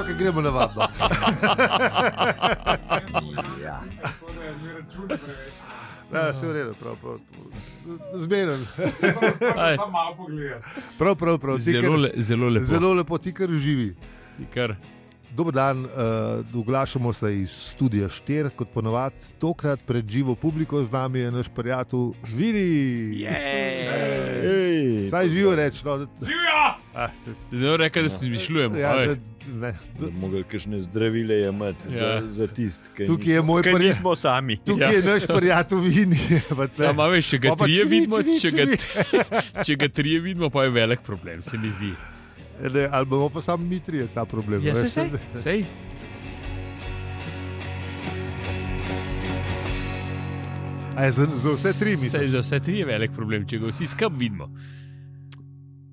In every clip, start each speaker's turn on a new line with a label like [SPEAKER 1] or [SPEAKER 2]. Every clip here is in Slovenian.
[SPEAKER 1] Ok, gremo navadno.
[SPEAKER 2] Ja.
[SPEAKER 3] Tako da ni račun preveč.
[SPEAKER 1] Ja, se ureda, prav, prav. Zmeren.
[SPEAKER 3] Treba
[SPEAKER 4] Aj.
[SPEAKER 3] samo malo pogledati.
[SPEAKER 1] Prav, prav, prav. ti kar-
[SPEAKER 4] Zelo, le, zelo lepo.
[SPEAKER 1] zelo lepo, ti kar živi.
[SPEAKER 4] Ti Kar,
[SPEAKER 1] Dober dan, uh, oglašamo se iz studia 4, kot ponovadi, tokrat pred živo publiko, z nami je naš prijatelj Vili.
[SPEAKER 2] Ej,
[SPEAKER 1] Saj živo reč, no, da,
[SPEAKER 3] Živja!
[SPEAKER 1] a, se, s-
[SPEAKER 4] zelo reka, da si mišljujem.
[SPEAKER 1] ja, da, ne,
[SPEAKER 2] da bi Mogli kakšne zdravile jemati ja.
[SPEAKER 4] Ja.
[SPEAKER 2] za, za tist, ki
[SPEAKER 1] tukaj je moj
[SPEAKER 2] Ker
[SPEAKER 1] prijatelj.
[SPEAKER 2] nismo sami.
[SPEAKER 1] Tukaj je naš prijatelj Vini. pa te-
[SPEAKER 4] Sama veš, če ga
[SPEAKER 1] Pa pa
[SPEAKER 4] trije
[SPEAKER 1] čvi,
[SPEAKER 4] vidimo,
[SPEAKER 1] čvi,
[SPEAKER 4] če ga,
[SPEAKER 1] čvi.
[SPEAKER 4] če ga trije vidimo, pa je velik problem, se mi zdi.
[SPEAKER 1] Ne, ali bomo pa sami mi trije ta problem.
[SPEAKER 4] Ja,
[SPEAKER 1] veš?
[SPEAKER 4] se sej, sej.
[SPEAKER 1] A je za, za vse tri
[SPEAKER 4] Sej,
[SPEAKER 1] misli.
[SPEAKER 4] za vse tri je velik problem, če ga vsi skup vidimo.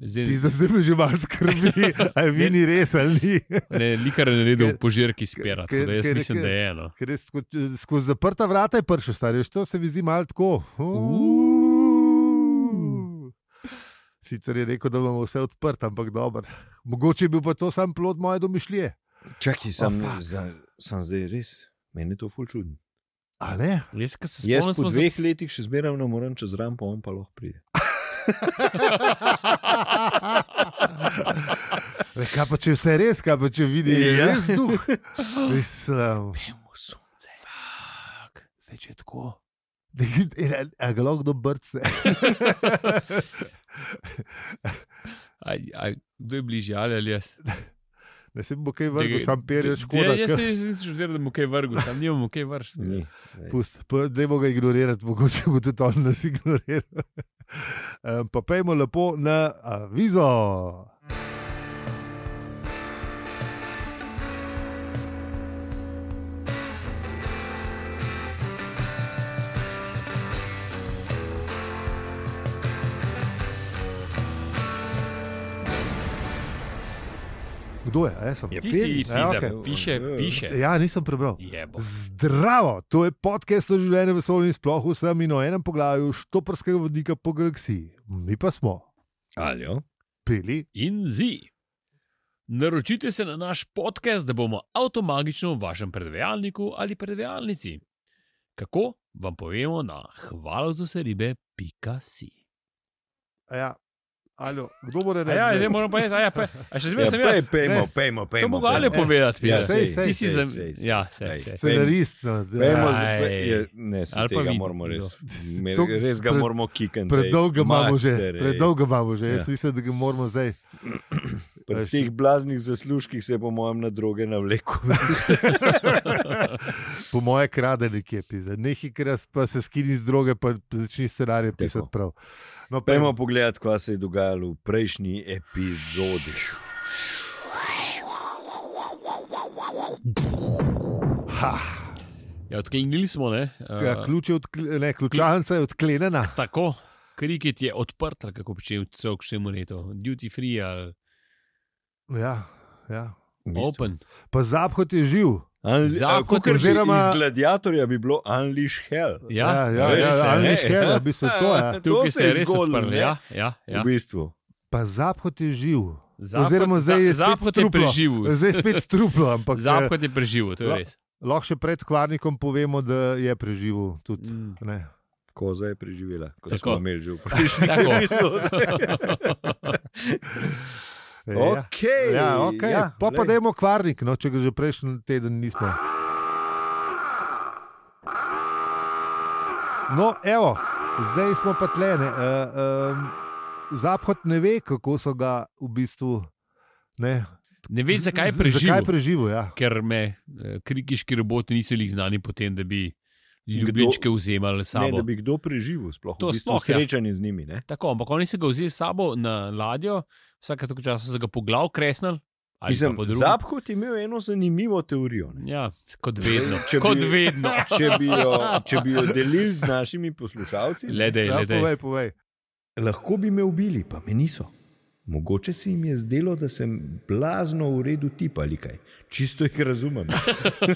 [SPEAKER 4] Zdaj,
[SPEAKER 1] Pizda se mi že malo skrbi, a je Vini res ali ni.
[SPEAKER 4] ne, nikar ne naredil
[SPEAKER 1] Ker-
[SPEAKER 4] požirki spera,
[SPEAKER 1] ker-
[SPEAKER 4] tako da jaz
[SPEAKER 1] ker-
[SPEAKER 4] mislim,
[SPEAKER 1] ker-
[SPEAKER 4] da je no. eno.
[SPEAKER 1] Ker je sko, skozi zaprta vrata je prišel, stari, veš, to se mi zdi malo tako. Sicer je rekel, da imamo vse odprto, ampak dobro. Mogoče je bil pa to sam plod moje domišljije.
[SPEAKER 2] Čakaj,
[SPEAKER 1] sem-
[SPEAKER 2] sem, oh, sem zdaj res. Meni je to ful čudno.
[SPEAKER 1] A ne?
[SPEAKER 4] Jaz, ki se
[SPEAKER 2] Jaz
[SPEAKER 4] spomnim,
[SPEAKER 2] po
[SPEAKER 4] smo za-
[SPEAKER 2] dveh letih še zmeraj ne morem čez rampo, on pa lahko pride.
[SPEAKER 1] Le, kaj pa če je vse res, kaj pa če vidi, je
[SPEAKER 2] Ja.
[SPEAKER 1] res duh. Mislim,
[SPEAKER 2] Pejmo sonce.
[SPEAKER 4] Fuck.
[SPEAKER 1] zdaj če je tako. E, A ga lahko kdo brce.
[SPEAKER 4] Aj, aj, Kdo je bližje, ali, ali jaz?
[SPEAKER 1] Ne se bo kaj
[SPEAKER 4] Tega-
[SPEAKER 1] vrgel, sam
[SPEAKER 4] Ja,
[SPEAKER 1] perje škoda. ke- Ja.
[SPEAKER 4] Jaz se nisem študiral, da mu kaj vrgu, tam nimamo kaj vršiti.
[SPEAKER 2] Ni.
[SPEAKER 1] Pust, ne bo ga ignorirati, mogoče bo tudi on nas ignoriral. Em, Pa pejmo lepo na avizo. Kdo je? A Jaz sem.
[SPEAKER 2] Je
[SPEAKER 4] Ti si
[SPEAKER 2] Pelic.
[SPEAKER 4] jih
[SPEAKER 1] Ja,
[SPEAKER 4] videl,
[SPEAKER 1] okej.
[SPEAKER 4] piše, piše.
[SPEAKER 1] Ja, nisem prebral.
[SPEAKER 4] Jebo.
[SPEAKER 1] Zdravo, to je podcast o življenju vesolja in sploh vsem in o enem poglavju štoprskega vodnika po galaksiji. Mi pa smo
[SPEAKER 2] Aljo.
[SPEAKER 1] peli,
[SPEAKER 4] In zi. Naročite se na naš podcast, da bomo avtomagično v vašem predvajalniku ali predvajalnici. Kako vam povemo na hvala za vse ribe.si.
[SPEAKER 1] ja, ali kdo bo rekel?
[SPEAKER 4] Ja, zdaj moram pa jaz, a, ja, pa, a še zmeraj
[SPEAKER 2] Ja,
[SPEAKER 4] sem jaz.
[SPEAKER 2] pej, pejmo,
[SPEAKER 1] Ne.
[SPEAKER 2] pejmo, pejmo.
[SPEAKER 4] To mogo ali
[SPEAKER 2] pejmo.
[SPEAKER 4] povedati,
[SPEAKER 2] Ja,
[SPEAKER 4] Peter.
[SPEAKER 1] sej, sej,
[SPEAKER 4] ti si
[SPEAKER 2] sej,
[SPEAKER 4] za.
[SPEAKER 2] sej, sej.
[SPEAKER 4] Ja, se,
[SPEAKER 2] Sej.
[SPEAKER 4] se.
[SPEAKER 1] scenarist. no,
[SPEAKER 2] Pejmo,
[SPEAKER 1] ja.
[SPEAKER 2] z-
[SPEAKER 4] Aj.
[SPEAKER 2] pe, je, ne, se
[SPEAKER 4] Ali pa no.
[SPEAKER 2] tega
[SPEAKER 4] vidno,
[SPEAKER 2] moramo res.
[SPEAKER 1] kdo.
[SPEAKER 2] Me,
[SPEAKER 1] To-
[SPEAKER 2] res ga
[SPEAKER 1] pred-
[SPEAKER 2] moramo kikati.
[SPEAKER 1] Predolgo imamo že, predolgo imamo že. Jaz
[SPEAKER 2] Ja.
[SPEAKER 1] mislim, da ga moramo zdaj.
[SPEAKER 2] Pri
[SPEAKER 1] Veš.
[SPEAKER 2] teh blaznih zaslužkih se je, po mojem, na droge navlekel.
[SPEAKER 1] Po moje krade nekje pisa. Nekaj krat pa se skini z droge, pa začni scenarij pisati prav. No,
[SPEAKER 2] Pejmo pogledat, kaj se je dogajalo v prejšnji epizodi.
[SPEAKER 4] Ja, odklenili smo, ne? eh,
[SPEAKER 1] Ja, ključ je odkle, ne, ključavnica je odklenjena.
[SPEAKER 4] Tako, kriket je odprt, ali kako počne vse, če mu reče, duty free ali
[SPEAKER 1] Ja, ja.
[SPEAKER 4] open.
[SPEAKER 1] Pa zaphod je živ.
[SPEAKER 4] Zakon,
[SPEAKER 2] Zakon, oziroma
[SPEAKER 1] oziroma-
[SPEAKER 2] eh, iz gladiatorja bi bilo Unleash Hell.
[SPEAKER 4] Ja,
[SPEAKER 1] ja,
[SPEAKER 2] Veš,
[SPEAKER 1] ja,
[SPEAKER 2] se
[SPEAKER 1] ja ali
[SPEAKER 2] ne.
[SPEAKER 1] se je, v bistvu to je.
[SPEAKER 4] tukaj
[SPEAKER 2] To
[SPEAKER 4] se je res
[SPEAKER 2] zgodilo,
[SPEAKER 4] odprl.
[SPEAKER 2] ne?
[SPEAKER 4] Ja, ja, ja.
[SPEAKER 2] V bistvu.
[SPEAKER 1] Pa zaphod je živ.
[SPEAKER 4] Zapad,
[SPEAKER 1] Oziroma, zdaj je spet
[SPEAKER 4] zapad je
[SPEAKER 1] truplo.
[SPEAKER 4] preživel.
[SPEAKER 1] Zdaj spet truplo, ampak eh,
[SPEAKER 4] Zapad je preživel,
[SPEAKER 2] Ja.
[SPEAKER 4] to je
[SPEAKER 1] La-
[SPEAKER 4] res.
[SPEAKER 1] lahko še pred kvarnikom povemo, da je preživel. Tudi, ne.
[SPEAKER 2] Koza je preživela, kot
[SPEAKER 4] Tako.
[SPEAKER 2] Tako. smo imeli že v prejšnji
[SPEAKER 4] Tako.
[SPEAKER 2] epizodi.
[SPEAKER 1] E, ja.
[SPEAKER 2] okay,
[SPEAKER 1] Ja, okay. ja, pa pa dajmo kvarnik, no, če ga že prejšnji teden nismo. No, evo, zdaj smo pa tlene. Uh, um, Zaphod ne ve, kako so ga v bistvu. Ne,
[SPEAKER 4] Ne veš, zakaj je
[SPEAKER 1] z-
[SPEAKER 4] preživel.
[SPEAKER 1] Zakaj preživel, ja.
[SPEAKER 4] Ker me eh, krikiški roboti niso bili znani potem, da bi ljubljenčke vzemali s
[SPEAKER 2] Ne,
[SPEAKER 4] sabo.
[SPEAKER 2] da bi kdo preživel, sploh
[SPEAKER 4] To
[SPEAKER 2] v bistvu
[SPEAKER 4] sploh, ja.
[SPEAKER 2] srečanje z njimi. Ne?
[SPEAKER 4] Tako, ampak oni so ga vzeli s sabo na ladjo, vsake toliko časa so ga po glav kresnili. ali pa
[SPEAKER 2] Mislim,
[SPEAKER 4] po drugem.
[SPEAKER 2] Zapkot je imel eno zanimivo teorijo. Ne?
[SPEAKER 4] Ja, kot vedno.
[SPEAKER 2] Če bi-
[SPEAKER 4] Kot vedno.
[SPEAKER 2] Če bi, jo, če bi jo delili z našimi poslušalci,
[SPEAKER 4] Ledej,
[SPEAKER 1] ja
[SPEAKER 4] ledej.
[SPEAKER 1] povej, povej.
[SPEAKER 2] lahko bi me ubili, pa me niso. Mogoče se jim je zdelo, da sem blazno v redu tip ali kaj. Čisto jih razumem.
[SPEAKER 4] Ja.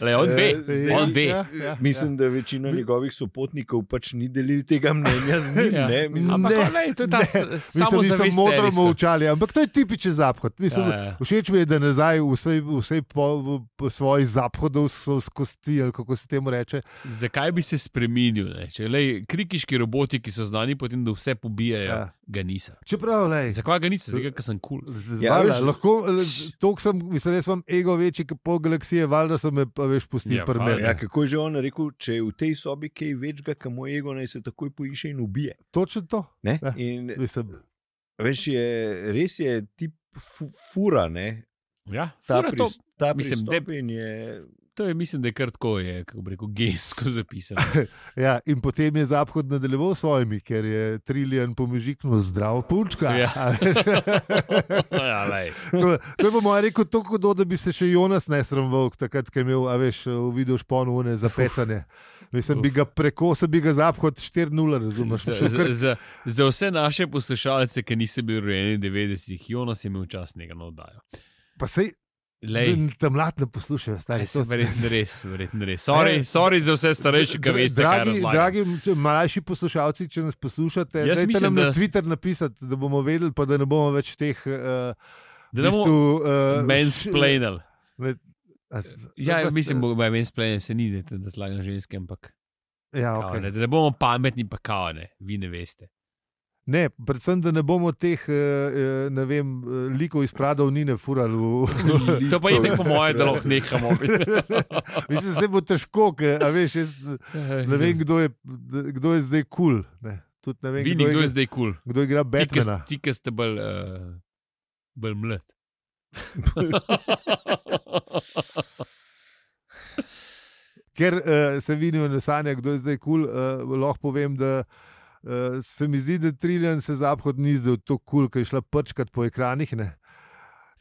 [SPEAKER 4] Le, on ve,
[SPEAKER 2] Eh,
[SPEAKER 1] zdaj-
[SPEAKER 4] on ve.
[SPEAKER 1] Ja, ja,
[SPEAKER 2] Mislim, da večina njegovih sopotnikov pač ni delil tega mnenja z njim.
[SPEAKER 4] Ja.
[SPEAKER 2] ne. Mislim,
[SPEAKER 4] Ampak,
[SPEAKER 1] Ne,
[SPEAKER 4] glej, to je ta
[SPEAKER 1] ne,
[SPEAKER 4] s-
[SPEAKER 1] Samo da
[SPEAKER 4] samozavest
[SPEAKER 1] nisem modro
[SPEAKER 4] serijska.
[SPEAKER 1] molčali, ampak to je tipičen zapad. Mislim,
[SPEAKER 4] Ja, ja.
[SPEAKER 1] ja, ja. Všeč mi je, da nazaj vse, vse po, v- po svojih zapadov so skosti, ali kako se temu reče.
[SPEAKER 4] Zakaj bi se spremenil? ne? Če le krikiški roboti, ki so znani potem, da vse pobijajo, ja.
[SPEAKER 1] Ja.
[SPEAKER 4] ga niso.
[SPEAKER 1] Čeprav, lej,
[SPEAKER 4] Zakaj ga niso? Zato, ker sem kul. Cool.
[SPEAKER 2] Ja,
[SPEAKER 1] Ja,
[SPEAKER 2] veš-
[SPEAKER 1] veš, lahko, eh, toliko sem, mislim, jaz imam ego večji kot pol galaksije, valjda so me, pa veš, pustili
[SPEAKER 4] Ja,
[SPEAKER 1] ja, pri
[SPEAKER 4] valjda.
[SPEAKER 1] meni.
[SPEAKER 2] Ja, kako je že on rekel, če je v tej sobi kaj večga, kam moj ego naj se takoj poišče in ubije.
[SPEAKER 1] Točno to.
[SPEAKER 2] Ne?
[SPEAKER 1] Ja.
[SPEAKER 2] In
[SPEAKER 1] Mislim,
[SPEAKER 2] veš, je, res je tip fu- fura, ne?
[SPEAKER 4] Ja,
[SPEAKER 2] ta,
[SPEAKER 4] fura to,
[SPEAKER 2] pris, ta
[SPEAKER 4] mislim,
[SPEAKER 2] mislim,
[SPEAKER 4] da-
[SPEAKER 2] pristop in je
[SPEAKER 4] to je, mislim, da je kar tako, je, kako bi rekel, gensko zapisano.
[SPEAKER 1] ja, in potem je Zapad nadaljeval s svojimi, ker je Triljan pomežiknil zdrav punčka.
[SPEAKER 4] Ja.
[SPEAKER 1] A veš?
[SPEAKER 4] ja, lej.
[SPEAKER 1] to, to je po mojem rekel tako hudo, da bi se še Jonas ne sramval, takrat, ko je imel, a veš, v videu šponovne zapecane. Mislim, bi ga prekosil, bi ga Zapad 4-0, razumeš?
[SPEAKER 4] Za, za, za, za vse naše poslušalce, ki niso bili rojeni v 90-ih, Jonas je imel čas nekaj oddajo.
[SPEAKER 1] Pa sej,
[SPEAKER 4] Lej,
[SPEAKER 1] tam mlad ne poslušajo,
[SPEAKER 4] Aj,
[SPEAKER 1] stari.
[SPEAKER 4] se
[SPEAKER 1] to-
[SPEAKER 4] verjetno res, verjetno res. Sorry,
[SPEAKER 1] Ne.
[SPEAKER 4] sorry za vse starejše, ki veste, kaj
[SPEAKER 1] dragi,
[SPEAKER 4] je
[SPEAKER 1] dragi m- mlajši poslušalci, če nas poslušate,
[SPEAKER 4] Jaz
[SPEAKER 1] dajte
[SPEAKER 4] mislim,
[SPEAKER 1] nam na
[SPEAKER 4] da-
[SPEAKER 1] Twitter napisati, da bomo vedeli, pa da ne bomo več teh. Uh,
[SPEAKER 4] Da ne bomo
[SPEAKER 1] uh,
[SPEAKER 4] Mansplainal. Ja,
[SPEAKER 1] pa-
[SPEAKER 4] mislim, da je mansplainal, se ni, da razlagam ženske, ampak
[SPEAKER 1] Ja,
[SPEAKER 4] kao, ne,
[SPEAKER 1] okay.
[SPEAKER 4] da ne bomo pametni, pa kao ne, vi ne veste.
[SPEAKER 1] ne, predvsem, da ne bomo teh eh, eh, ne vem, eh, likov iz Pradov ni ne furali. V...
[SPEAKER 4] To pa je tako po moje, da lahko nehamo.
[SPEAKER 1] mislim, se bo težko, ker a veš, jaz ne vem, kdo je, kdo je zdaj kul. Cool, Tudi ne vem, kdo,
[SPEAKER 4] Vidi, kdo je
[SPEAKER 1] igra,
[SPEAKER 4] zdaj kul.
[SPEAKER 1] kdo igra Batmana.
[SPEAKER 4] Ti, ki ste bolj, uh, bolj mlad.
[SPEAKER 1] Ker uh, se vidijo na sanjah, kdo je zdaj kul, cool, uh, lahko povem, da uh, se mi zdi, da Triljan se zahod ni zdel tako kul, cool, ker je šla prčkat po ekranih. Ne?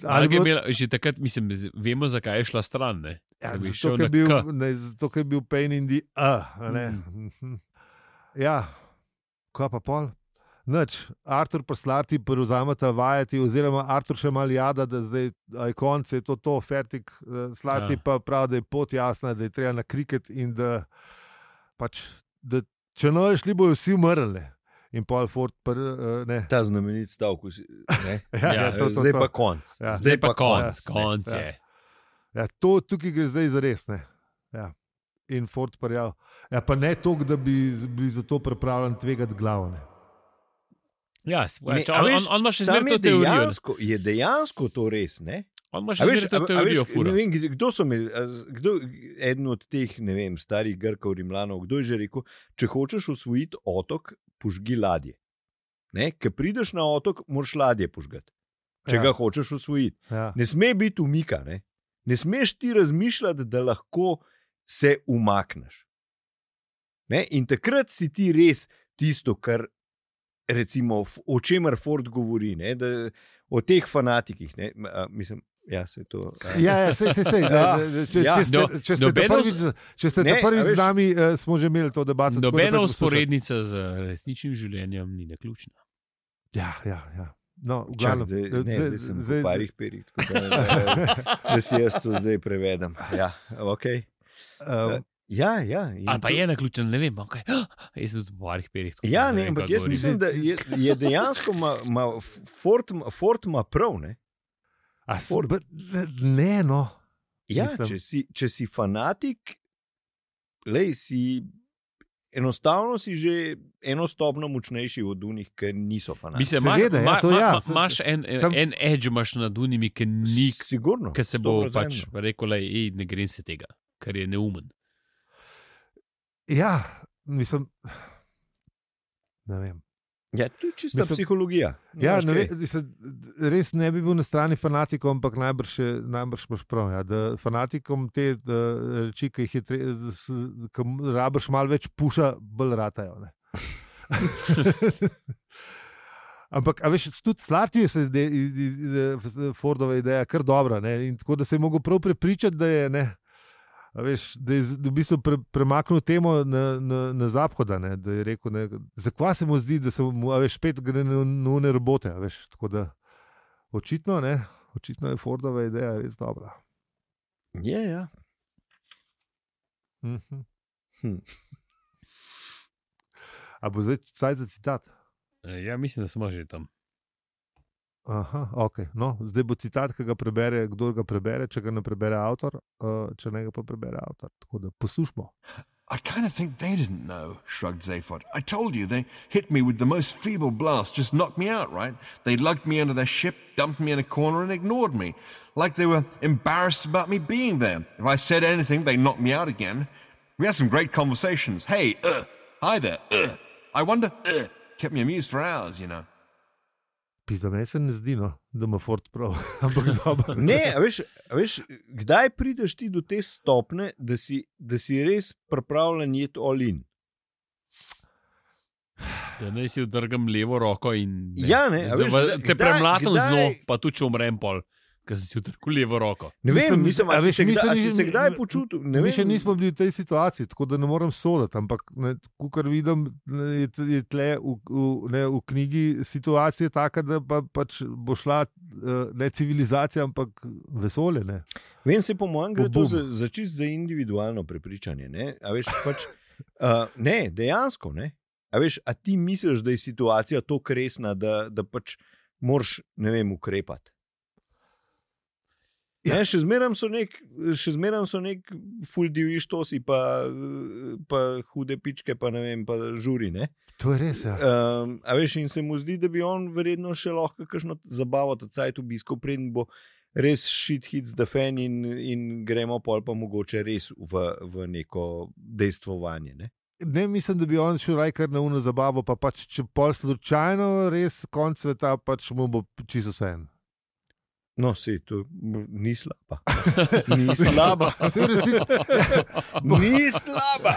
[SPEAKER 4] Ali je
[SPEAKER 1] bo-
[SPEAKER 4] imela, že takrat, mislim, z- vemo, zakaj je šla stran. Ne?
[SPEAKER 1] ja,
[SPEAKER 4] da bi
[SPEAKER 1] zato,
[SPEAKER 4] šel
[SPEAKER 1] ker
[SPEAKER 4] na
[SPEAKER 1] je bil,
[SPEAKER 4] K. Mm.
[SPEAKER 1] ne, zato, ker je bil pain in the uh, a ne. Mhm. Ja, kaj pa pol? Noč, Artur poslati, prevzameta vajeti, oziroma Artur še mal jada, da zdaj a je konc, je to to, fertik, eh, slati
[SPEAKER 4] Ja.
[SPEAKER 1] ja. pa pravi, da je pot jasna, da je treba na kriket in da pač, da če ne bojo šli, bojo vsi umrli. In pol Ford, pr, eh, ne.
[SPEAKER 2] ta znamenit stavek. vsi- ne.
[SPEAKER 1] Ja,
[SPEAKER 4] Ja,
[SPEAKER 1] ja, to, to,
[SPEAKER 2] Zdaj
[SPEAKER 1] to.
[SPEAKER 2] pa konc.
[SPEAKER 1] Ja.
[SPEAKER 4] Zdaj pa konc,
[SPEAKER 2] ne.
[SPEAKER 4] konc je.
[SPEAKER 1] Ja, to tukaj gre zdaj za res. ne. Ja. In Ford pa je. Ja, pa ne toliko, da bi bili za to pripravljeni tvegati glavne.
[SPEAKER 4] Ja, s-
[SPEAKER 2] Ne,
[SPEAKER 4] če-
[SPEAKER 2] a
[SPEAKER 4] on,
[SPEAKER 2] veš,
[SPEAKER 4] on, on ima še
[SPEAKER 2] Sam
[SPEAKER 4] zmeraj
[SPEAKER 2] je
[SPEAKER 4] to teorijo. ne.
[SPEAKER 2] dejansko, je dejansko to res. Ne?
[SPEAKER 4] On ima še
[SPEAKER 2] A veš,
[SPEAKER 4] zmeraj to
[SPEAKER 2] a- a
[SPEAKER 4] teorijo.
[SPEAKER 2] veš,
[SPEAKER 4] fura.
[SPEAKER 2] ne vem, kdo- kdo so imeli, a z- kdo, eden od teh ne vem, starih Grkov, Rimljanov, kdo je že rekel, če hočeš usvojiti otok, požgi ladje. Ne? Ker prideš na otok, moraš ladje požgati, če ja.
[SPEAKER 1] Ja.
[SPEAKER 2] ga hočeš usvojiti.
[SPEAKER 1] Ja.
[SPEAKER 2] Ne sme biti umika, ne, ne smeš ti razmišljati, da lahko se umakneš. Ne? In takrat si ti res tisto, kar, recimo, f- o čemer Ford govori, ne? da o teh fanatikih. Ne? M- A, mislim, ja, se to. a-
[SPEAKER 1] Ja, ja, sej, sej, sej. Da,
[SPEAKER 2] Ja.
[SPEAKER 1] da, da, Če,
[SPEAKER 2] Ja.
[SPEAKER 1] če ste,
[SPEAKER 4] No-
[SPEAKER 1] če ste ta
[SPEAKER 4] nobeno
[SPEAKER 1] prvič, z- če ste ta
[SPEAKER 2] Ne, a
[SPEAKER 1] prvič
[SPEAKER 2] veš-
[SPEAKER 1] z nami, eh, smo že imeli to debato. tako da
[SPEAKER 4] Nobena
[SPEAKER 1] pojdite poslušati.
[SPEAKER 4] usporednica z resničnim življenjem ni naključna.
[SPEAKER 1] Ja, ja, ja. No, v
[SPEAKER 2] Čak,
[SPEAKER 1] glavnem,
[SPEAKER 2] da,
[SPEAKER 1] eh,
[SPEAKER 2] ne, zdaj sem
[SPEAKER 1] zdaj-
[SPEAKER 2] v parih perih, tako da, da, da si jaz to zdaj prevedem. Ja, okay.
[SPEAKER 1] eh,
[SPEAKER 2] ja, ja, in
[SPEAKER 4] Ali pa
[SPEAKER 2] to-
[SPEAKER 4] je naključen, ne vem, kaj. Jaz sem tudi v parih perih. tako da
[SPEAKER 2] Ja,
[SPEAKER 4] vem,
[SPEAKER 2] ne,
[SPEAKER 4] kaj
[SPEAKER 2] ampak jaz
[SPEAKER 4] govorim.
[SPEAKER 2] mislim, da je, je dejansko ma, ma, Ford, ima- Ford ima prav. Ne,
[SPEAKER 1] a s-
[SPEAKER 2] Ford.
[SPEAKER 1] b- Ne, no.
[SPEAKER 2] ja,
[SPEAKER 1] Mislim.
[SPEAKER 2] če, si, če si fanatik, lej, si, enostavno si že eno stopno močnejši od unih, ki niso fanatiki.
[SPEAKER 4] Mislim, imaš-
[SPEAKER 1] Seveda, ja,
[SPEAKER 4] ma-
[SPEAKER 1] to
[SPEAKER 4] ma-
[SPEAKER 1] ja,
[SPEAKER 4] ma-
[SPEAKER 1] se-
[SPEAKER 4] Imaš en, e-
[SPEAKER 1] sem-
[SPEAKER 4] en edge, imaš nad unimi, ki ni,
[SPEAKER 2] Sigurno.
[SPEAKER 4] ki se bo
[SPEAKER 2] 100%.
[SPEAKER 4] pač rekel, da ne grem se tega, ker je neumen.
[SPEAKER 1] Ja, mislim. Ne vem.
[SPEAKER 2] Ja, to je čista
[SPEAKER 1] Mislim-
[SPEAKER 2] mislim, psihologija.
[SPEAKER 1] Ja,
[SPEAKER 2] Nimaš
[SPEAKER 1] ne,
[SPEAKER 2] kaj.
[SPEAKER 1] ve, mislim, res ne bi bil na strani fanatikov, ampak najbrž, je- najbrž imaš prav. Ja, da fanatikom te da, reči, ki jih je treba, da s- ki m- rabiš malo več puša, bolj ratajo. ne. Ampak, a veš, tudi Slatiju se zdi i- i- i- Fordova ideja kar dobra. Ne? In tako da se je mogel prav prepričati, da je ne. A Veš, da je z- da v bistvu pre, premaknil temo na, na, na zahod, da je rekel, ne, zakaj se mu zdi, da se mu, a veš, spet gre na nune robote. a Veš, tako da očitno, ne, očitno je Fordova ideja res dobra.
[SPEAKER 2] Je, ja.
[SPEAKER 1] Mhm.
[SPEAKER 2] Hm.
[SPEAKER 1] A bo zdaj caj za citat?
[SPEAKER 2] E,
[SPEAKER 4] Eh, Ja, mislim, da smo že tam.
[SPEAKER 1] Aha, okay. no, zdaj bo citat, ki ga prebere, kdo ga prebere, če ga ne prebere avtor, eh, če ne ga pa prebere avtor. Tako da poslušamo.
[SPEAKER 5] I kind of think they didn't know, shrugged Zaphod. I told you, they hit me with the most feeble blast, just knocked me out, right? They lugged me under their ship, dumped me in a corner, and ignored me. Like they were embarrassed about me being there. If I said anything, they knocked me out again. We had some great conversations. Hey, uh, hi there, uh, I wonder, uh, kept me amused for hours, you know.
[SPEAKER 1] Pisa, meni se ne zdi, no, da ima Ford prav, ampak dobro.
[SPEAKER 2] Ne, a veš, a veš, kdaj prideš ti do te stopne, da si, da si res pripravljen jeti olin?
[SPEAKER 4] Da naj si utrgam levo roko in
[SPEAKER 2] Ja, ne, a
[SPEAKER 4] Zdaj,
[SPEAKER 2] veš,
[SPEAKER 4] pa
[SPEAKER 2] kdaj-
[SPEAKER 4] te premlatam
[SPEAKER 2] kdaj-
[SPEAKER 4] z dno, pa tudi če umrem pol, ker sem si utrgal levo roko.
[SPEAKER 2] Ne vem,
[SPEAKER 1] Mislim,
[SPEAKER 2] mislim,
[SPEAKER 1] a
[SPEAKER 2] a si
[SPEAKER 1] veš,
[SPEAKER 2] se
[SPEAKER 1] mi
[SPEAKER 2] kdaj-
[SPEAKER 1] se
[SPEAKER 2] a si
[SPEAKER 1] ni-
[SPEAKER 2] se kdaj
[SPEAKER 1] ne-
[SPEAKER 2] počutil. Ne
[SPEAKER 1] Ne mi še
[SPEAKER 2] vem.
[SPEAKER 1] nismo bili v tej situaciji, tako da ne morem soditi, ampak kar vidim, ne, je, t- je tle v, v, ne, v knjigi situacija taka, da pa, pač bo šla eh, ne civilizacija, ampak vesolje. Ne.
[SPEAKER 2] Vem se, po mojem, gre to
[SPEAKER 1] Bum.
[SPEAKER 2] za, za čist za individualno prepričanje. Ne, a veš, pač, uh, ne dejansko ne. A, veš, a ti misliš, da je situacija tako resna, da, da pač moraš, ne vem, ukrepati. Ja. Ne, še zmeraj so nek, še zmeraj so nek ful divji štosi, pa, eh, pa hude pičke, pa ne vem, pa žuri. Ne?
[SPEAKER 1] To je res. Ja.
[SPEAKER 2] Um, a veš, in se mu zdi, da bi on verjetno še lahko kakšno zabavo ta cajt obiskal, preden bo res shit hits the fan in, in gremo pol pa mogoče res v, v neko dejstvovanje. Ne?
[SPEAKER 1] Ne mislim, da bi on šel raj kar na uno zabavo, pa pač če pol slučajno res konc sveta, pač mu bo čisto vse en.
[SPEAKER 2] No, se to m, ni slaba. Ni slaba.
[SPEAKER 1] Saj v resnici-
[SPEAKER 2] Ni slaba.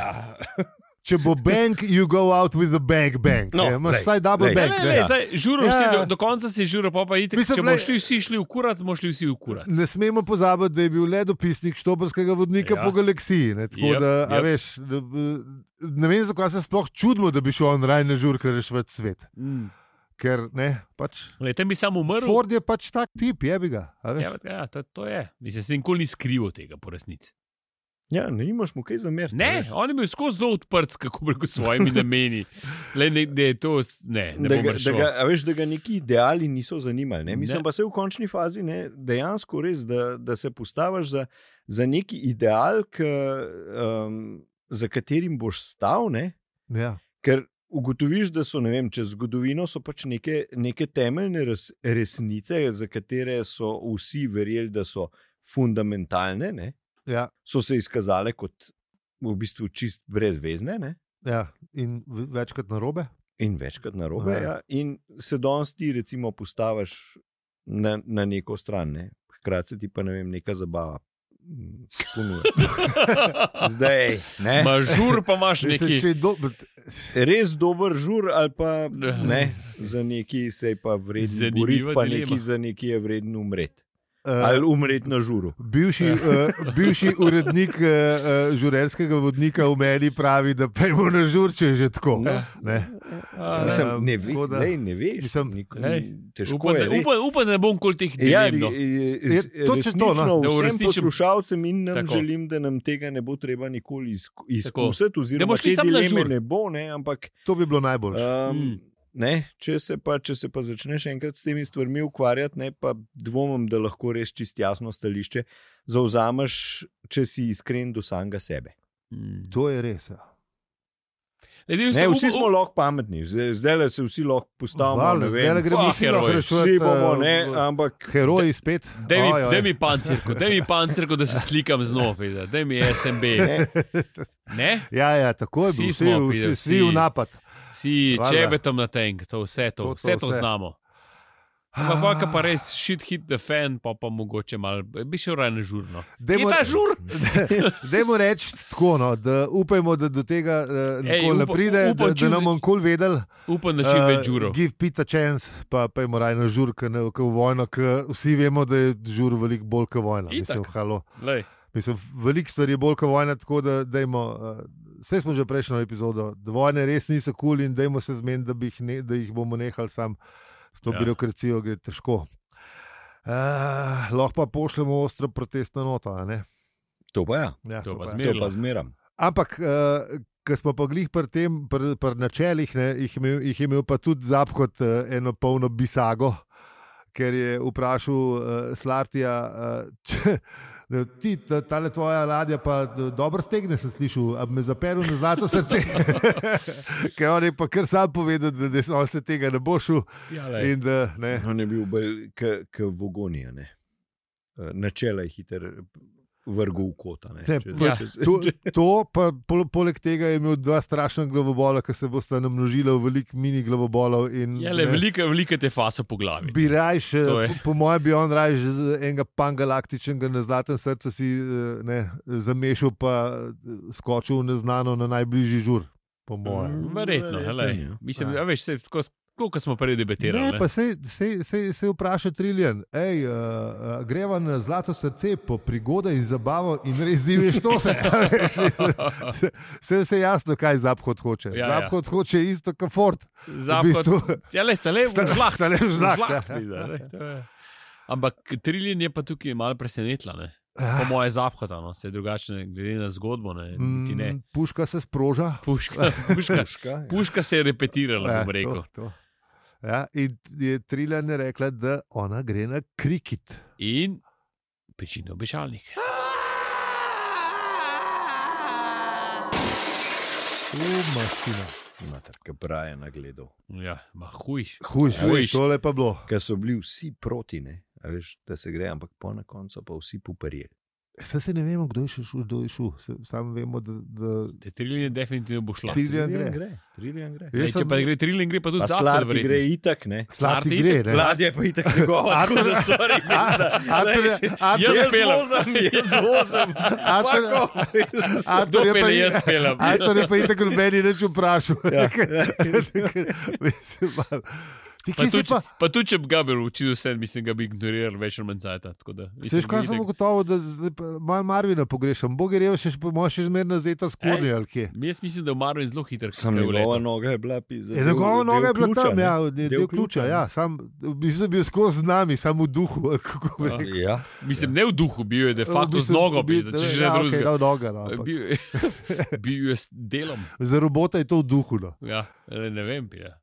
[SPEAKER 1] Če bo bank, you go out with the bank, bank.
[SPEAKER 2] No,
[SPEAKER 1] No, ja, imaš
[SPEAKER 2] lej,
[SPEAKER 1] vsaj double
[SPEAKER 2] lej.
[SPEAKER 1] bank.
[SPEAKER 4] Ne,
[SPEAKER 1] ne.
[SPEAKER 4] ne, zdaj,
[SPEAKER 1] Ja,
[SPEAKER 4] žuro, vsi,
[SPEAKER 1] ja.
[SPEAKER 4] do, do konca si žuro, pa, pa itek,
[SPEAKER 1] Mislim,
[SPEAKER 4] če bomo
[SPEAKER 1] glej-
[SPEAKER 4] šli vsi šli v kurat, smo šli vsi v kurat.
[SPEAKER 1] Ne smemo pozabiti, da je bil le dopisnik štobrskega vodnika
[SPEAKER 4] Ja.
[SPEAKER 1] ja. po galaksiji. Ne, tako
[SPEAKER 4] Jep,
[SPEAKER 1] yep, da,
[SPEAKER 4] jep.
[SPEAKER 1] yep. veš, da, b- ne vem, zakaj se sploh čudimo, da bi šel on raj na žurke rešiti svet.
[SPEAKER 4] Mm.
[SPEAKER 1] Ker ne, pač.
[SPEAKER 4] Tam bi sam umrl.
[SPEAKER 1] Ford je pač tak tip, je bi ga. a veš.
[SPEAKER 4] Ja, ja, to, to je. Mislim, se nikoli ni skrival tega, po resnici.
[SPEAKER 2] Ja, ne imaš mu kaj zameriti.
[SPEAKER 4] Ne,
[SPEAKER 2] veš.
[SPEAKER 4] on je bil skozi zelo odprt, s kako bi rekel, svojimi nameni. Le, ne, da je to, s- ne, E, ne
[SPEAKER 2] Da ga,
[SPEAKER 4] bom
[SPEAKER 2] da,
[SPEAKER 4] šel.
[SPEAKER 2] ga, a veš, da ga neki ideali niso zanimali. Ne? Mislim
[SPEAKER 4] Ne.
[SPEAKER 2] ne. pa se v končni fazi ne, dejansko res, da, da se postaviš za, za neki ideal, k, um, za katerim boš stal. Ne?
[SPEAKER 1] Ja.
[SPEAKER 2] Ker ugotoviš, da so ne vem, čez zgodovino so pač neke, neke temeljne res, resnice, za katere so vsi verjeli, da so fundamentalne, ne?
[SPEAKER 1] Ja,
[SPEAKER 2] so se izkazale kot v bistvu čist brezvezne. Ne?
[SPEAKER 1] ja. In v- večkrat na robe.
[SPEAKER 2] In večkrat na robe.
[SPEAKER 1] Ja.
[SPEAKER 2] Ja. In se danes ti, recimo, postaviš na, na neko stran, ne? hkrati se ti pa ne vem, neka zabava. mm, ponuja. Zdaj, ne?
[SPEAKER 4] Ma žur pa imaš neki.
[SPEAKER 1] Če je do...
[SPEAKER 2] res dober žur, ali pa ne, za neki se je pa vreden
[SPEAKER 4] Zanimiva
[SPEAKER 2] boriti, pa
[SPEAKER 4] dilema. Eh.
[SPEAKER 2] neki za neki je vreden umreti.
[SPEAKER 1] uh,
[SPEAKER 2] Ali umreti na žuru.
[SPEAKER 1] bivši, uh, bivši urednik uh, uh, žurerskega vodnika v meni pravi, da pejmo na žur, če je že tako.
[SPEAKER 2] No.
[SPEAKER 4] Ja.
[SPEAKER 1] Ne.
[SPEAKER 4] A,
[SPEAKER 2] Ja, Mislim, ne, ve,
[SPEAKER 1] tako da-
[SPEAKER 2] lej, ne veš,
[SPEAKER 1] Mislim,
[SPEAKER 2] nikoli-
[SPEAKER 4] lej,
[SPEAKER 2] težko
[SPEAKER 4] Upam,
[SPEAKER 2] je.
[SPEAKER 4] da-
[SPEAKER 2] res.
[SPEAKER 4] upam- upam, da ne bom kol teh
[SPEAKER 2] Ja,
[SPEAKER 4] dilem. no.
[SPEAKER 1] Je točno to,
[SPEAKER 2] resnično,
[SPEAKER 1] no.
[SPEAKER 4] Da
[SPEAKER 2] vsem
[SPEAKER 4] uresničim-
[SPEAKER 2] poslušalcem in nam
[SPEAKER 4] Tako.
[SPEAKER 2] tako. želim, da nam tega ne bo treba nikoli izku- izkusiti,
[SPEAKER 4] Da
[SPEAKER 2] oziroma
[SPEAKER 4] boš ti
[SPEAKER 2] te
[SPEAKER 4] sam na
[SPEAKER 2] dileme
[SPEAKER 4] žur.
[SPEAKER 2] ne bo, ne, ampak
[SPEAKER 1] To bi bilo najboljše.
[SPEAKER 2] um,
[SPEAKER 4] Mm.
[SPEAKER 2] ne, če, se pa, če se pa začneš enkrat s temi stvarmi ukvarjati, ne, pa dvomim, da lahko res čist jasno stališče zauzameš, če si iskren do samega sebe.
[SPEAKER 4] Mm.
[SPEAKER 1] To je res. Ja.
[SPEAKER 4] Edino se
[SPEAKER 2] Ne,
[SPEAKER 4] up-
[SPEAKER 2] vsi smo
[SPEAKER 4] up-
[SPEAKER 2] lahko pametni, zdaj zdajle se vsi lahko postavimo.
[SPEAKER 1] Valjda,
[SPEAKER 2] ne
[SPEAKER 1] zdajle
[SPEAKER 2] vem,
[SPEAKER 1] gremo
[SPEAKER 4] Ah,
[SPEAKER 1] vsi lahko
[SPEAKER 4] heroji.
[SPEAKER 1] reševati,
[SPEAKER 2] Vsi bomo,
[SPEAKER 1] eh,
[SPEAKER 2] ne, ampak
[SPEAKER 1] Heroji spet.
[SPEAKER 4] Daj mi,
[SPEAKER 1] Oj, oj.
[SPEAKER 4] daj mi pancirko, daj mi pancirko, da se slikam z nopi, daj mi SMB.
[SPEAKER 2] Ne.
[SPEAKER 4] Ne?
[SPEAKER 1] Ja, ja, tako je
[SPEAKER 4] Vsi
[SPEAKER 1] bilo. Vsi,
[SPEAKER 4] smo,
[SPEAKER 1] vsi,
[SPEAKER 4] Peter,
[SPEAKER 1] vsi,
[SPEAKER 4] vsi.
[SPEAKER 1] vsi v napad.
[SPEAKER 4] Si
[SPEAKER 1] Valjda.
[SPEAKER 4] čebetom na tank, to vse to,
[SPEAKER 1] To, to
[SPEAKER 4] vse to
[SPEAKER 1] vse.
[SPEAKER 4] znamo. Ampak polka
[SPEAKER 1] Ah.
[SPEAKER 4] pa res shit hit the fan, pa pa mogoče malo, bi šel raje na žurno. Je
[SPEAKER 1] Dajmo-
[SPEAKER 4] ta žur?
[SPEAKER 1] Dajmo reči tako, no, da upajmo, da do tega uh,
[SPEAKER 4] Ej,
[SPEAKER 1] nikoli ne
[SPEAKER 4] upa-
[SPEAKER 1] pride,
[SPEAKER 4] upam,
[SPEAKER 1] da,
[SPEAKER 4] čim
[SPEAKER 1] da nam
[SPEAKER 4] več.
[SPEAKER 1] bom kol vedel.
[SPEAKER 4] Upam, da čim
[SPEAKER 1] eh,
[SPEAKER 4] več žurov.
[SPEAKER 1] Give pizza chance, pa pojmo raje na žur, ker v vojno, ker vsi vemo, da je žur veliko bolj kot vojna.
[SPEAKER 4] Itak.
[SPEAKER 1] Mislim, halo.
[SPEAKER 4] Lej.
[SPEAKER 1] Mislim, veliko stvari je bolj kot vojna, tako da dajmo. Uh, vse smo že prejšnjo epizodo, da vojne res niso kul cool in dajmo se zmeniti, da, bi jih ne, da jih bomo nehali sam s to
[SPEAKER 4] Ja.
[SPEAKER 1] ja. birokracijo, gre težko. Uh, lahko pa pošljemo ostro protestno noto. a ne?
[SPEAKER 2] To pa ja,
[SPEAKER 1] Ja,
[SPEAKER 4] To pa
[SPEAKER 1] je.
[SPEAKER 4] zmeraj.
[SPEAKER 2] to pa zmeram.
[SPEAKER 1] Ampak, uh, ki smo pa glih pri tem, pri pri načelih, ne, jih, je imel, jih je imel pa tudi zap kot uh, eno polno bisago, ker je vprašal uh, Slartija, uh, če da ti, ta tale tvoja ladja pa d- dobro stegne, sem slišal, a bi me zaperu na zlato srce. ker on je pa kar sam povedal, da, da on se tega ne bo šel.
[SPEAKER 4] Ja,
[SPEAKER 1] In, da, ne,
[SPEAKER 2] On je bil bolj kot Vogonija. Ne? Eh, Načela je hiter vrgel v kota. Ne?
[SPEAKER 1] Ne,
[SPEAKER 2] Če-
[SPEAKER 1] pa-
[SPEAKER 2] če se-
[SPEAKER 1] To,
[SPEAKER 2] če-
[SPEAKER 1] to pa pol- poleg tega je imel dva strašna glavobola, ki se bosta namnožila v veliko mini glavobolov. in,
[SPEAKER 4] ja, le,
[SPEAKER 1] ne.
[SPEAKER 4] velika, velika te fasa po glavi.
[SPEAKER 1] Bi rajš,
[SPEAKER 4] To je-
[SPEAKER 1] po, po mojem, bi on rajš z enega pangalaktičnega na zlatem srcu si eh, ne, zamešal, pa eh, skočil v neznano na najbližji žur. Po
[SPEAKER 4] Mm,
[SPEAKER 1] mojem.
[SPEAKER 4] Verjetno, helej.
[SPEAKER 2] ja.
[SPEAKER 4] Mislim,
[SPEAKER 1] Ja.
[SPEAKER 4] ja. veš, se, tako, tako kot smo prej debatirali.
[SPEAKER 1] Ne,
[SPEAKER 4] Ne,
[SPEAKER 1] pa se, se, se, se vpraša Triljen, hej, uh, uh, greva na zlato srce po prigode in zabavo in res diviš to se. a veš, se- se vse jasno, kaj zaphod hoče.
[SPEAKER 4] Ja, ja.
[SPEAKER 1] zaphod hoče isto, kot Ford.
[SPEAKER 4] Zapad,
[SPEAKER 1] bistvu-
[SPEAKER 4] ja, le, se le,
[SPEAKER 1] Sta-
[SPEAKER 4] žlaht,
[SPEAKER 1] sta le v žlaht,
[SPEAKER 4] žlaht,
[SPEAKER 1] ja.
[SPEAKER 4] pride, ne, to je. Ampak Trilin je pa tukaj malo presenetila, ne. po
[SPEAKER 1] Ah,
[SPEAKER 4] moje zaphata, no. se drugačne, glede na zgodbo. Ne, niti ne.
[SPEAKER 1] mm, Puška se sproža.
[SPEAKER 4] Puška, puška,
[SPEAKER 2] Puška, ja.
[SPEAKER 4] puška se je repetirala,
[SPEAKER 1] Ja,
[SPEAKER 4] bom rekel.
[SPEAKER 1] To, to. Ja, in je Triljan je rekla, da ona gre na krikit.
[SPEAKER 4] In pečino obešalnik.
[SPEAKER 1] Umašina.
[SPEAKER 2] Imate, ki praje na gledu.
[SPEAKER 4] Ja, ma hujš.
[SPEAKER 1] Hujš,
[SPEAKER 4] Ja,
[SPEAKER 1] hujš.
[SPEAKER 4] veš.
[SPEAKER 1] Tole je pa bilo.
[SPEAKER 2] Ker so bili vsi proti, ne? A veš, da se gre, ampak po na koncu pa vsi poperjeli.
[SPEAKER 1] Saj se ne vemo, kdo je še šel, kdo je šel. Se- Samo vemo, da. da...
[SPEAKER 4] Te Trilin definitivno bo šla.
[SPEAKER 1] Trillian gre.
[SPEAKER 2] Triljan gre.
[SPEAKER 4] Ne, če pa gre Trilin, gre pa tudi
[SPEAKER 2] Pa
[SPEAKER 4] Zapad.
[SPEAKER 2] slati gre itak, ne?
[SPEAKER 1] Slati
[SPEAKER 4] Slarti
[SPEAKER 1] gre,
[SPEAKER 4] itak-
[SPEAKER 1] ne?
[SPEAKER 2] Sladje pa itak njegova, tako da sorry, pizda.
[SPEAKER 1] Antonija- Antonija-
[SPEAKER 4] Jaz
[SPEAKER 2] Jaz
[SPEAKER 4] pelem.
[SPEAKER 2] vozim, jaz vozim.
[SPEAKER 1] Anton-
[SPEAKER 2] Fuck off.
[SPEAKER 4] Kdo
[SPEAKER 1] Antonija
[SPEAKER 4] pele,
[SPEAKER 1] ni-
[SPEAKER 4] jaz pelem.
[SPEAKER 1] Anton je pa itak meni reč vprašal.
[SPEAKER 2] Ja.
[SPEAKER 1] Mislim, malo. Ti,
[SPEAKER 4] Pa
[SPEAKER 1] kje si
[SPEAKER 4] tudi,
[SPEAKER 1] pa?
[SPEAKER 4] pa tudi, če bi ga bil učil vse, mislim, ga bi ignoriral več ali manj cajt.
[SPEAKER 1] Seš, kaj sem ugotovil, da da pa malo Marvina pogrešam. Bog je rekel, še moš izmerno zeta skornje ali kje.
[SPEAKER 4] Jaz mislim, da je Marvin zelo hiter. kakor
[SPEAKER 2] Sam
[SPEAKER 4] je v
[SPEAKER 2] njegova
[SPEAKER 4] letu.
[SPEAKER 2] noga je bila
[SPEAKER 1] Ja,
[SPEAKER 2] pizda. del-
[SPEAKER 1] Njegova
[SPEAKER 2] del
[SPEAKER 1] noga je bila
[SPEAKER 2] ključa,
[SPEAKER 1] tam,
[SPEAKER 2] ne?
[SPEAKER 1] ja, del, del ključa.
[SPEAKER 2] ne?
[SPEAKER 1] Ja, sam, mislim, da je bil skozi z nami, samo v duhu. ali Kako bi rekel.
[SPEAKER 2] Ja.
[SPEAKER 4] Mislim, ne v duhu, bil je
[SPEAKER 1] V
[SPEAKER 4] de facto z
[SPEAKER 1] bistvu
[SPEAKER 4] nogo,
[SPEAKER 1] bi-
[SPEAKER 4] pizda, če že
[SPEAKER 1] ja,
[SPEAKER 4] ne
[SPEAKER 1] okej,
[SPEAKER 4] drugega. Eh,
[SPEAKER 1] dal noga, no, ampak
[SPEAKER 4] Bil, bil je s delom,
[SPEAKER 1] Za robota je to v duhu. No.
[SPEAKER 4] ja, le ne vem, ja.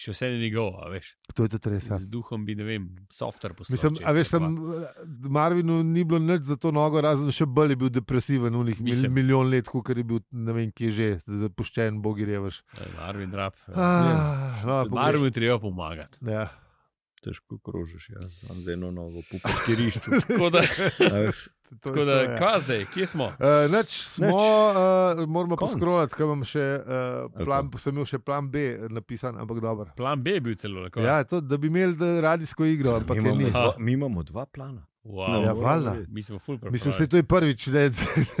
[SPEAKER 4] še vse ni njegov, a veš.
[SPEAKER 1] To je to res. ja.
[SPEAKER 4] Z duhom bi, ne vem, software poslal.
[SPEAKER 1] Mislim,
[SPEAKER 4] čez,
[SPEAKER 1] a veš,
[SPEAKER 4] ne,
[SPEAKER 1] tam eh, Marvinu ni bilo nič za to nogo, razen še bolj je bil depresiven, unih mil,
[SPEAKER 4] Mislim.
[SPEAKER 1] milijon let, kot je bil, ne vem, kje že, zapuščen, bogi revež.
[SPEAKER 4] pa- Ja, Marvin Rab.
[SPEAKER 1] Ah, no, pogreš-
[SPEAKER 4] Marvin treba pomagati.
[SPEAKER 1] ja.
[SPEAKER 2] Težko krožiš, jaz sem z eno nogo po parkirišču.
[SPEAKER 4] Tako da,
[SPEAKER 2] a veš.
[SPEAKER 1] To- to je
[SPEAKER 4] tako
[SPEAKER 1] to,
[SPEAKER 4] da
[SPEAKER 1] ja.
[SPEAKER 4] kva zdaj, kje smo?
[SPEAKER 1] Uh, neč, smo, uh, moramo
[SPEAKER 2] Konc.
[SPEAKER 1] poskrolati, kaj imam še, uh,
[SPEAKER 2] Ali
[SPEAKER 1] plan, sem imel še plan B napisan, ampak dobro.
[SPEAKER 4] Plan B je bil celo tako.
[SPEAKER 1] Ja, to, da bi imeli da, radijsko igro, ampak
[SPEAKER 2] Mi
[SPEAKER 1] je
[SPEAKER 2] imamo
[SPEAKER 1] ni.
[SPEAKER 2] dva- Mi imamo dva plana.
[SPEAKER 4] Wow.
[SPEAKER 1] Ja,
[SPEAKER 4] ja.
[SPEAKER 1] valjda.
[SPEAKER 4] Mi smo full pripravljeni.
[SPEAKER 1] Mislim, da je to je prvič, ne,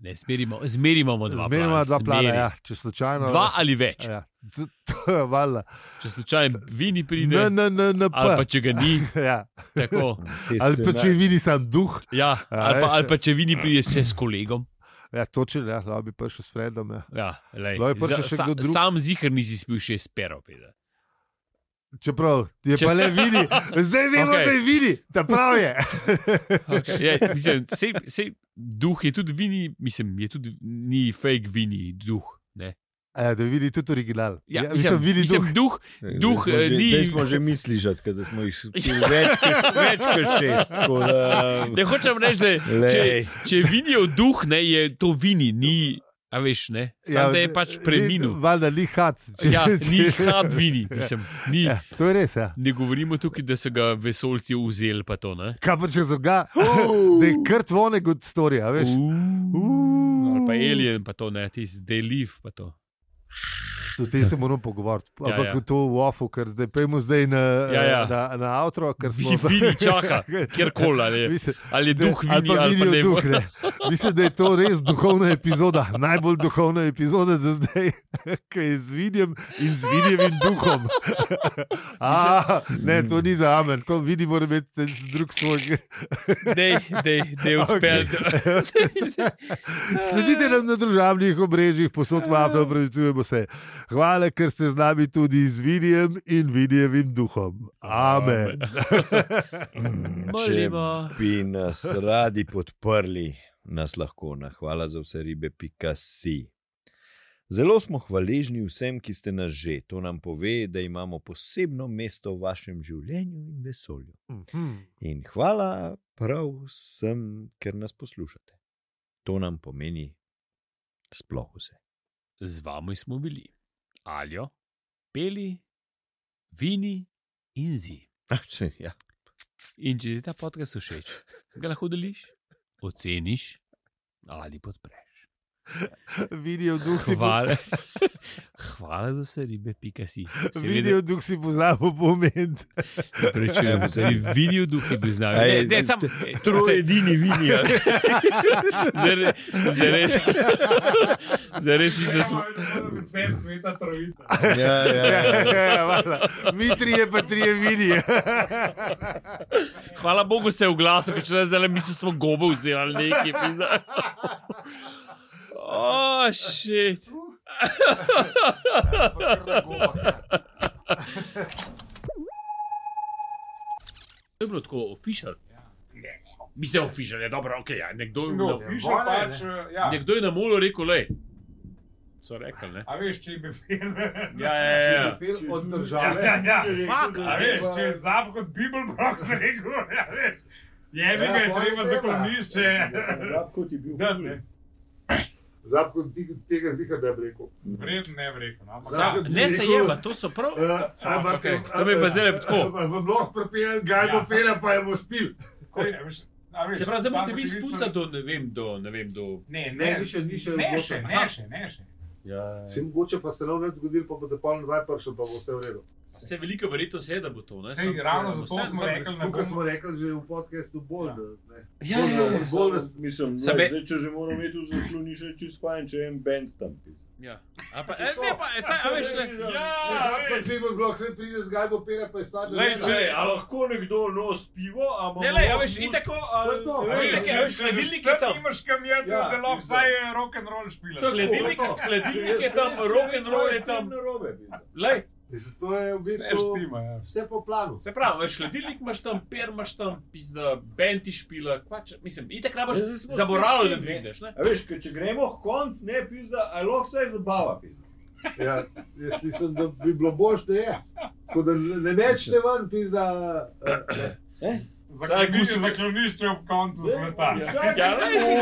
[SPEAKER 4] Ne, zmerimo, zmerimo dva plana.
[SPEAKER 1] zmerno dva plana,
[SPEAKER 4] zmeri.
[SPEAKER 1] ja, če slučajno.
[SPEAKER 4] Dva ali več.
[SPEAKER 1] ja, to, to je valjda.
[SPEAKER 4] Če slučajno vi ni pride,
[SPEAKER 1] Ne, ne, ne, ne,
[SPEAKER 4] ali pa
[SPEAKER 1] pa.
[SPEAKER 4] če ga ni,
[SPEAKER 1] Ja.
[SPEAKER 4] tako.
[SPEAKER 2] Te
[SPEAKER 1] Ali pa
[SPEAKER 2] scenarije-
[SPEAKER 1] če vidi sam duh,
[SPEAKER 4] Ja, ali, pa,
[SPEAKER 1] veš.
[SPEAKER 4] ali pa če vi ni pride še s kolegom.
[SPEAKER 1] ja, točen, ja, lahko bi prišel s Fredom. Ja.
[SPEAKER 4] Ja, lej,
[SPEAKER 1] Lahko je prišel še
[SPEAKER 4] sa,
[SPEAKER 1] kdo drug.
[SPEAKER 4] sam zihar nisi spil še spero. Pede.
[SPEAKER 1] Čeprav je
[SPEAKER 4] Če-
[SPEAKER 1] Če... pa le vidi, zdaj vemo,
[SPEAKER 4] Okej.
[SPEAKER 1] okay. da je vidi, da prav je.
[SPEAKER 4] Okay. Je, Ja, mislim, sej, sej, duh je tudi vini, mislim, je tudi ni fake vini duh. Ne?
[SPEAKER 1] Ja, da vidi tudi original.
[SPEAKER 4] Ja,
[SPEAKER 1] mislim,
[SPEAKER 4] ja, mislim,
[SPEAKER 1] vidi
[SPEAKER 4] mislim,
[SPEAKER 1] duh.
[SPEAKER 4] duh. duh Duh, eh,
[SPEAKER 2] Zdaj smo že-
[SPEAKER 4] ni- Ja.
[SPEAKER 2] Zdaj smo že mislili, žatke, da smo jih spili več kot- več kot šest. tako Da...
[SPEAKER 4] ne hočem reči, da če,
[SPEAKER 2] Lej.
[SPEAKER 4] če vinijo duh, ne, je to vini, ni, a veš, ne. Sam ja, da je pač preminul.
[SPEAKER 1] Valjda, ni had. če-
[SPEAKER 4] Ja,
[SPEAKER 1] če-
[SPEAKER 4] ni had vini, mislim, ni.
[SPEAKER 1] Ja, to je res. Ja.
[SPEAKER 4] Ne govorimo tukaj, da so ga vesolci vzeli, pa to ne.
[SPEAKER 1] Kaj pa če so ga, da je krt vonek od storja, veš?
[SPEAKER 4] Uuu.
[SPEAKER 1] Uuu.
[SPEAKER 4] Ali pa alien, pa to ne, ti zdeliv, pa to.
[SPEAKER 1] O tem se moramo pogovoriti.
[SPEAKER 4] Ja,
[SPEAKER 1] Ampak
[SPEAKER 4] ja.
[SPEAKER 1] ja, ja. to v ofu, ker zdaj pojmo zdaj na,
[SPEAKER 4] Ja,
[SPEAKER 1] ja,
[SPEAKER 4] ja.
[SPEAKER 1] ja. na, na avtro, ker smo
[SPEAKER 4] Vi- Vini čaka, kjerkoli, ali je-
[SPEAKER 1] Mislim,
[SPEAKER 4] ali je
[SPEAKER 1] da-
[SPEAKER 4] duh
[SPEAKER 1] ali
[SPEAKER 4] vini
[SPEAKER 1] pa
[SPEAKER 4] ali pa ne.
[SPEAKER 1] vinijev duh, ne. Mislim, da je to res duhovna epizoda, najbolj duhovna epizoda do zdaj, ki je z vidjem in z vidjevim duhom. A, ne, to ni za amen, to vidi mora imeti drug svoj.
[SPEAKER 4] Dej, dej, dej odpel.
[SPEAKER 1] Sledite nam na družabnih omrežjih, posod vabno upravičujemo se. Hvala, ker ste z nami tudi z vidjem in vidjevim duhom. Amen.
[SPEAKER 4] Molimo.
[SPEAKER 2] bi nas radi podprli, nas lahko na hvala za vse ribe, pika si. Zelo smo hvaležni vsem, ki ste nas že. To nam pove, da imamo posebno mesto v vašem življenju in vesolju.
[SPEAKER 1] Mhm.
[SPEAKER 2] In hvala prav vsem, ker nas poslušate. To nam pomeni sploh vse.
[SPEAKER 4] Z vami smo bili. Aljo, peli, vini in zi.
[SPEAKER 2] Ah, če, ja.
[SPEAKER 4] In če ti je ta podcast všeč, ga lahko deliš, oceniš ali podpreš.
[SPEAKER 1] Vidijo duh si po-
[SPEAKER 4] Hvala, hvala za vse ribe, pika si.
[SPEAKER 1] Vidijo duh si pozabil pomen.
[SPEAKER 4] Prečujem, da je videl duh, ki bi znal. Ne,
[SPEAKER 2] Ej,
[SPEAKER 4] ne, sam,
[SPEAKER 2] edini vini. ja.
[SPEAKER 4] Zares, zares mislim, da smo.
[SPEAKER 3] Vse sveta trojica.
[SPEAKER 2] Ja, ja, ja.
[SPEAKER 1] Mi trije, pa trije vidijo.
[SPEAKER 4] Hvala Bogu se je oglasil, ker če ne zdaj, mislim, da smo gobe vzeli ali nekaj. pizda. O, šit. To je bilo tako ofišal. Mislim, ofišal je dobro, ok, ja. nekdo je
[SPEAKER 3] No,
[SPEAKER 4] na
[SPEAKER 3] Fišer pač, ja.
[SPEAKER 4] Nekdo je na molu rekel, le. So rekli, ne?
[SPEAKER 3] A veš, če bi film.
[SPEAKER 4] Ja, ja, ja, ja.
[SPEAKER 1] Od
[SPEAKER 3] Ja,
[SPEAKER 1] države.
[SPEAKER 3] ja, ja.
[SPEAKER 4] Fuck,
[SPEAKER 3] A veš, če je zap kot Bibel Brox rekel, ja, veš. Je bi ga je
[SPEAKER 1] Ja,
[SPEAKER 3] treba
[SPEAKER 1] pol Ja, tema.
[SPEAKER 3] zaklonišče. Da, ne.
[SPEAKER 1] Zapko tega zika, da bi rekel.
[SPEAKER 3] Vredno ne bi rekel. no, ampak
[SPEAKER 1] Zap-
[SPEAKER 3] ja.
[SPEAKER 4] Ne se jeba, to so prav.
[SPEAKER 1] Eh, Ampak, eh,
[SPEAKER 4] okej. To bi pa zdajle tako.
[SPEAKER 1] V blok prepeljem, gaj bo
[SPEAKER 3] Ja.
[SPEAKER 1] pera, pa je bo spil.
[SPEAKER 3] Tako je, a veš, a veš,
[SPEAKER 4] Se pravi, zdaj morate vi
[SPEAKER 3] tako je bil človek-
[SPEAKER 4] spucati do, ne vem, do, ne vem, do...
[SPEAKER 3] Ne,
[SPEAKER 1] Ne,
[SPEAKER 3] ne,
[SPEAKER 1] ni še, ni še.
[SPEAKER 3] ne še, ne še, ne še.
[SPEAKER 4] Ja.
[SPEAKER 1] Se mogoče pa se nam več zgodil, pa bo da pol nazaj prišel, pa bo vse v redu.
[SPEAKER 4] Se velika verjetnost je, da bo to, ne?
[SPEAKER 3] Sej,
[SPEAKER 4] Samo-
[SPEAKER 3] ravno
[SPEAKER 4] samo-
[SPEAKER 3] zato
[SPEAKER 4] samo-
[SPEAKER 3] smo
[SPEAKER 4] samo-
[SPEAKER 3] rekli, da
[SPEAKER 1] Tukaj
[SPEAKER 3] bomo
[SPEAKER 1] smo rekli že v podkastu bolj, da ne.
[SPEAKER 4] Ja, ja, ja.
[SPEAKER 1] Bolj nas
[SPEAKER 6] Mislim,
[SPEAKER 4] Sebe-
[SPEAKER 6] lej, zdaj, če že moramo imeti v zakloni, še čist fajn, če en bend tam pisa.
[SPEAKER 4] Ja. A pa, e, ne, pa, e, saj, a veš, ne.
[SPEAKER 1] Če
[SPEAKER 4] Ja.
[SPEAKER 1] zakon People Block se pride z Gajbo Pera, pa je stvar
[SPEAKER 6] Lej,
[SPEAKER 1] narejena.
[SPEAKER 6] če, a lahko nekdo nos pivo, a
[SPEAKER 4] Ne, lej, a veš, itak-
[SPEAKER 1] To je to.
[SPEAKER 6] ali...
[SPEAKER 1] A veš,
[SPEAKER 4] tako je, a veš, hladilnik je tam.
[SPEAKER 3] Imaš kamion,
[SPEAKER 6] Ja,
[SPEAKER 3] da lahko
[SPEAKER 6] isto.
[SPEAKER 3] vsaj rock and roll špilaš.
[SPEAKER 4] Hladilnik,
[SPEAKER 1] to.
[SPEAKER 4] hladilnik je tam, e rock and roll e je tam. Lej,
[SPEAKER 1] Mislim, To je v
[SPEAKER 3] Ne,
[SPEAKER 1] bistvu
[SPEAKER 3] štima, ja.
[SPEAKER 1] vse po planu.
[SPEAKER 4] se pravi, veš, hladilnik imaš tam, per imaš tam, pizda, benti špila, kvač, mislim, itak rabaš
[SPEAKER 6] Ja, zdaj smo
[SPEAKER 4] zaboralo, da
[SPEAKER 6] spet, ne.
[SPEAKER 4] dvigneš, ne?
[SPEAKER 6] A veš, ker če gremo v konc, ne pisa, a lahko vsaj zabava pisa.
[SPEAKER 1] Ja, jaz mislim, da bi bilo boljše, da je. Tako da ne večne ven, pizda. eh, ne.
[SPEAKER 3] Zakloniš,
[SPEAKER 4] gusi-
[SPEAKER 3] zakloniš, če ob koncu sveta.
[SPEAKER 4] Ja, lej, si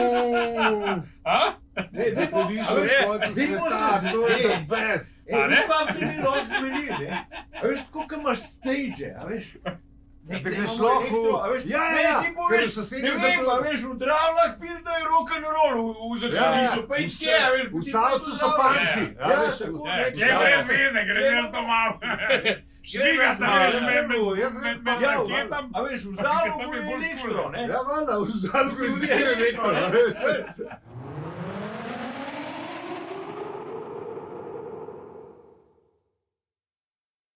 [SPEAKER 3] A?
[SPEAKER 6] Ne, ne,
[SPEAKER 1] Ko vidiš, da je konec
[SPEAKER 6] dajmo
[SPEAKER 1] sveta,
[SPEAKER 6] se zdaj.
[SPEAKER 1] to je the best.
[SPEAKER 6] Ej,
[SPEAKER 3] A ne?
[SPEAKER 6] ne, vam se ni lahko zmeni, ne? A veš, tako kot imaš stage, a veš?
[SPEAKER 1] Da
[SPEAKER 6] Ne,
[SPEAKER 1] greš lahko. Ja, ja, ja,
[SPEAKER 6] ne, ti
[SPEAKER 1] ker v
[SPEAKER 6] poveš, ne
[SPEAKER 1] sosednjem
[SPEAKER 6] vem, a
[SPEAKER 1] zakonu.
[SPEAKER 6] veš, v Dravljah pizda je rock and roll, v- v Zahodnišu, pa in kje, a veš?
[SPEAKER 1] V
[SPEAKER 6] ti
[SPEAKER 1] Savcu
[SPEAKER 6] pa
[SPEAKER 1] so
[SPEAKER 6] dobro.
[SPEAKER 1] panci.
[SPEAKER 6] Ja,
[SPEAKER 1] Ja,
[SPEAKER 6] ja,
[SPEAKER 1] veš,
[SPEAKER 6] tako,
[SPEAKER 3] Ja,
[SPEAKER 6] ne,
[SPEAKER 3] Gre
[SPEAKER 6] ja,
[SPEAKER 3] brez veze, gre jaz domov. Šviga se
[SPEAKER 6] domov,
[SPEAKER 3] mi
[SPEAKER 6] ja.
[SPEAKER 3] med
[SPEAKER 1] Jaz
[SPEAKER 3] med-
[SPEAKER 1] sem
[SPEAKER 3] med
[SPEAKER 1] pa-
[SPEAKER 3] med
[SPEAKER 6] Ja,
[SPEAKER 3] raketom.
[SPEAKER 6] a veš, v
[SPEAKER 3] Tam
[SPEAKER 6] Zalogu
[SPEAKER 3] je
[SPEAKER 6] je
[SPEAKER 3] bolj
[SPEAKER 6] elektro, ne?
[SPEAKER 1] Ja, valjda, v zadnjem je zelo veliko.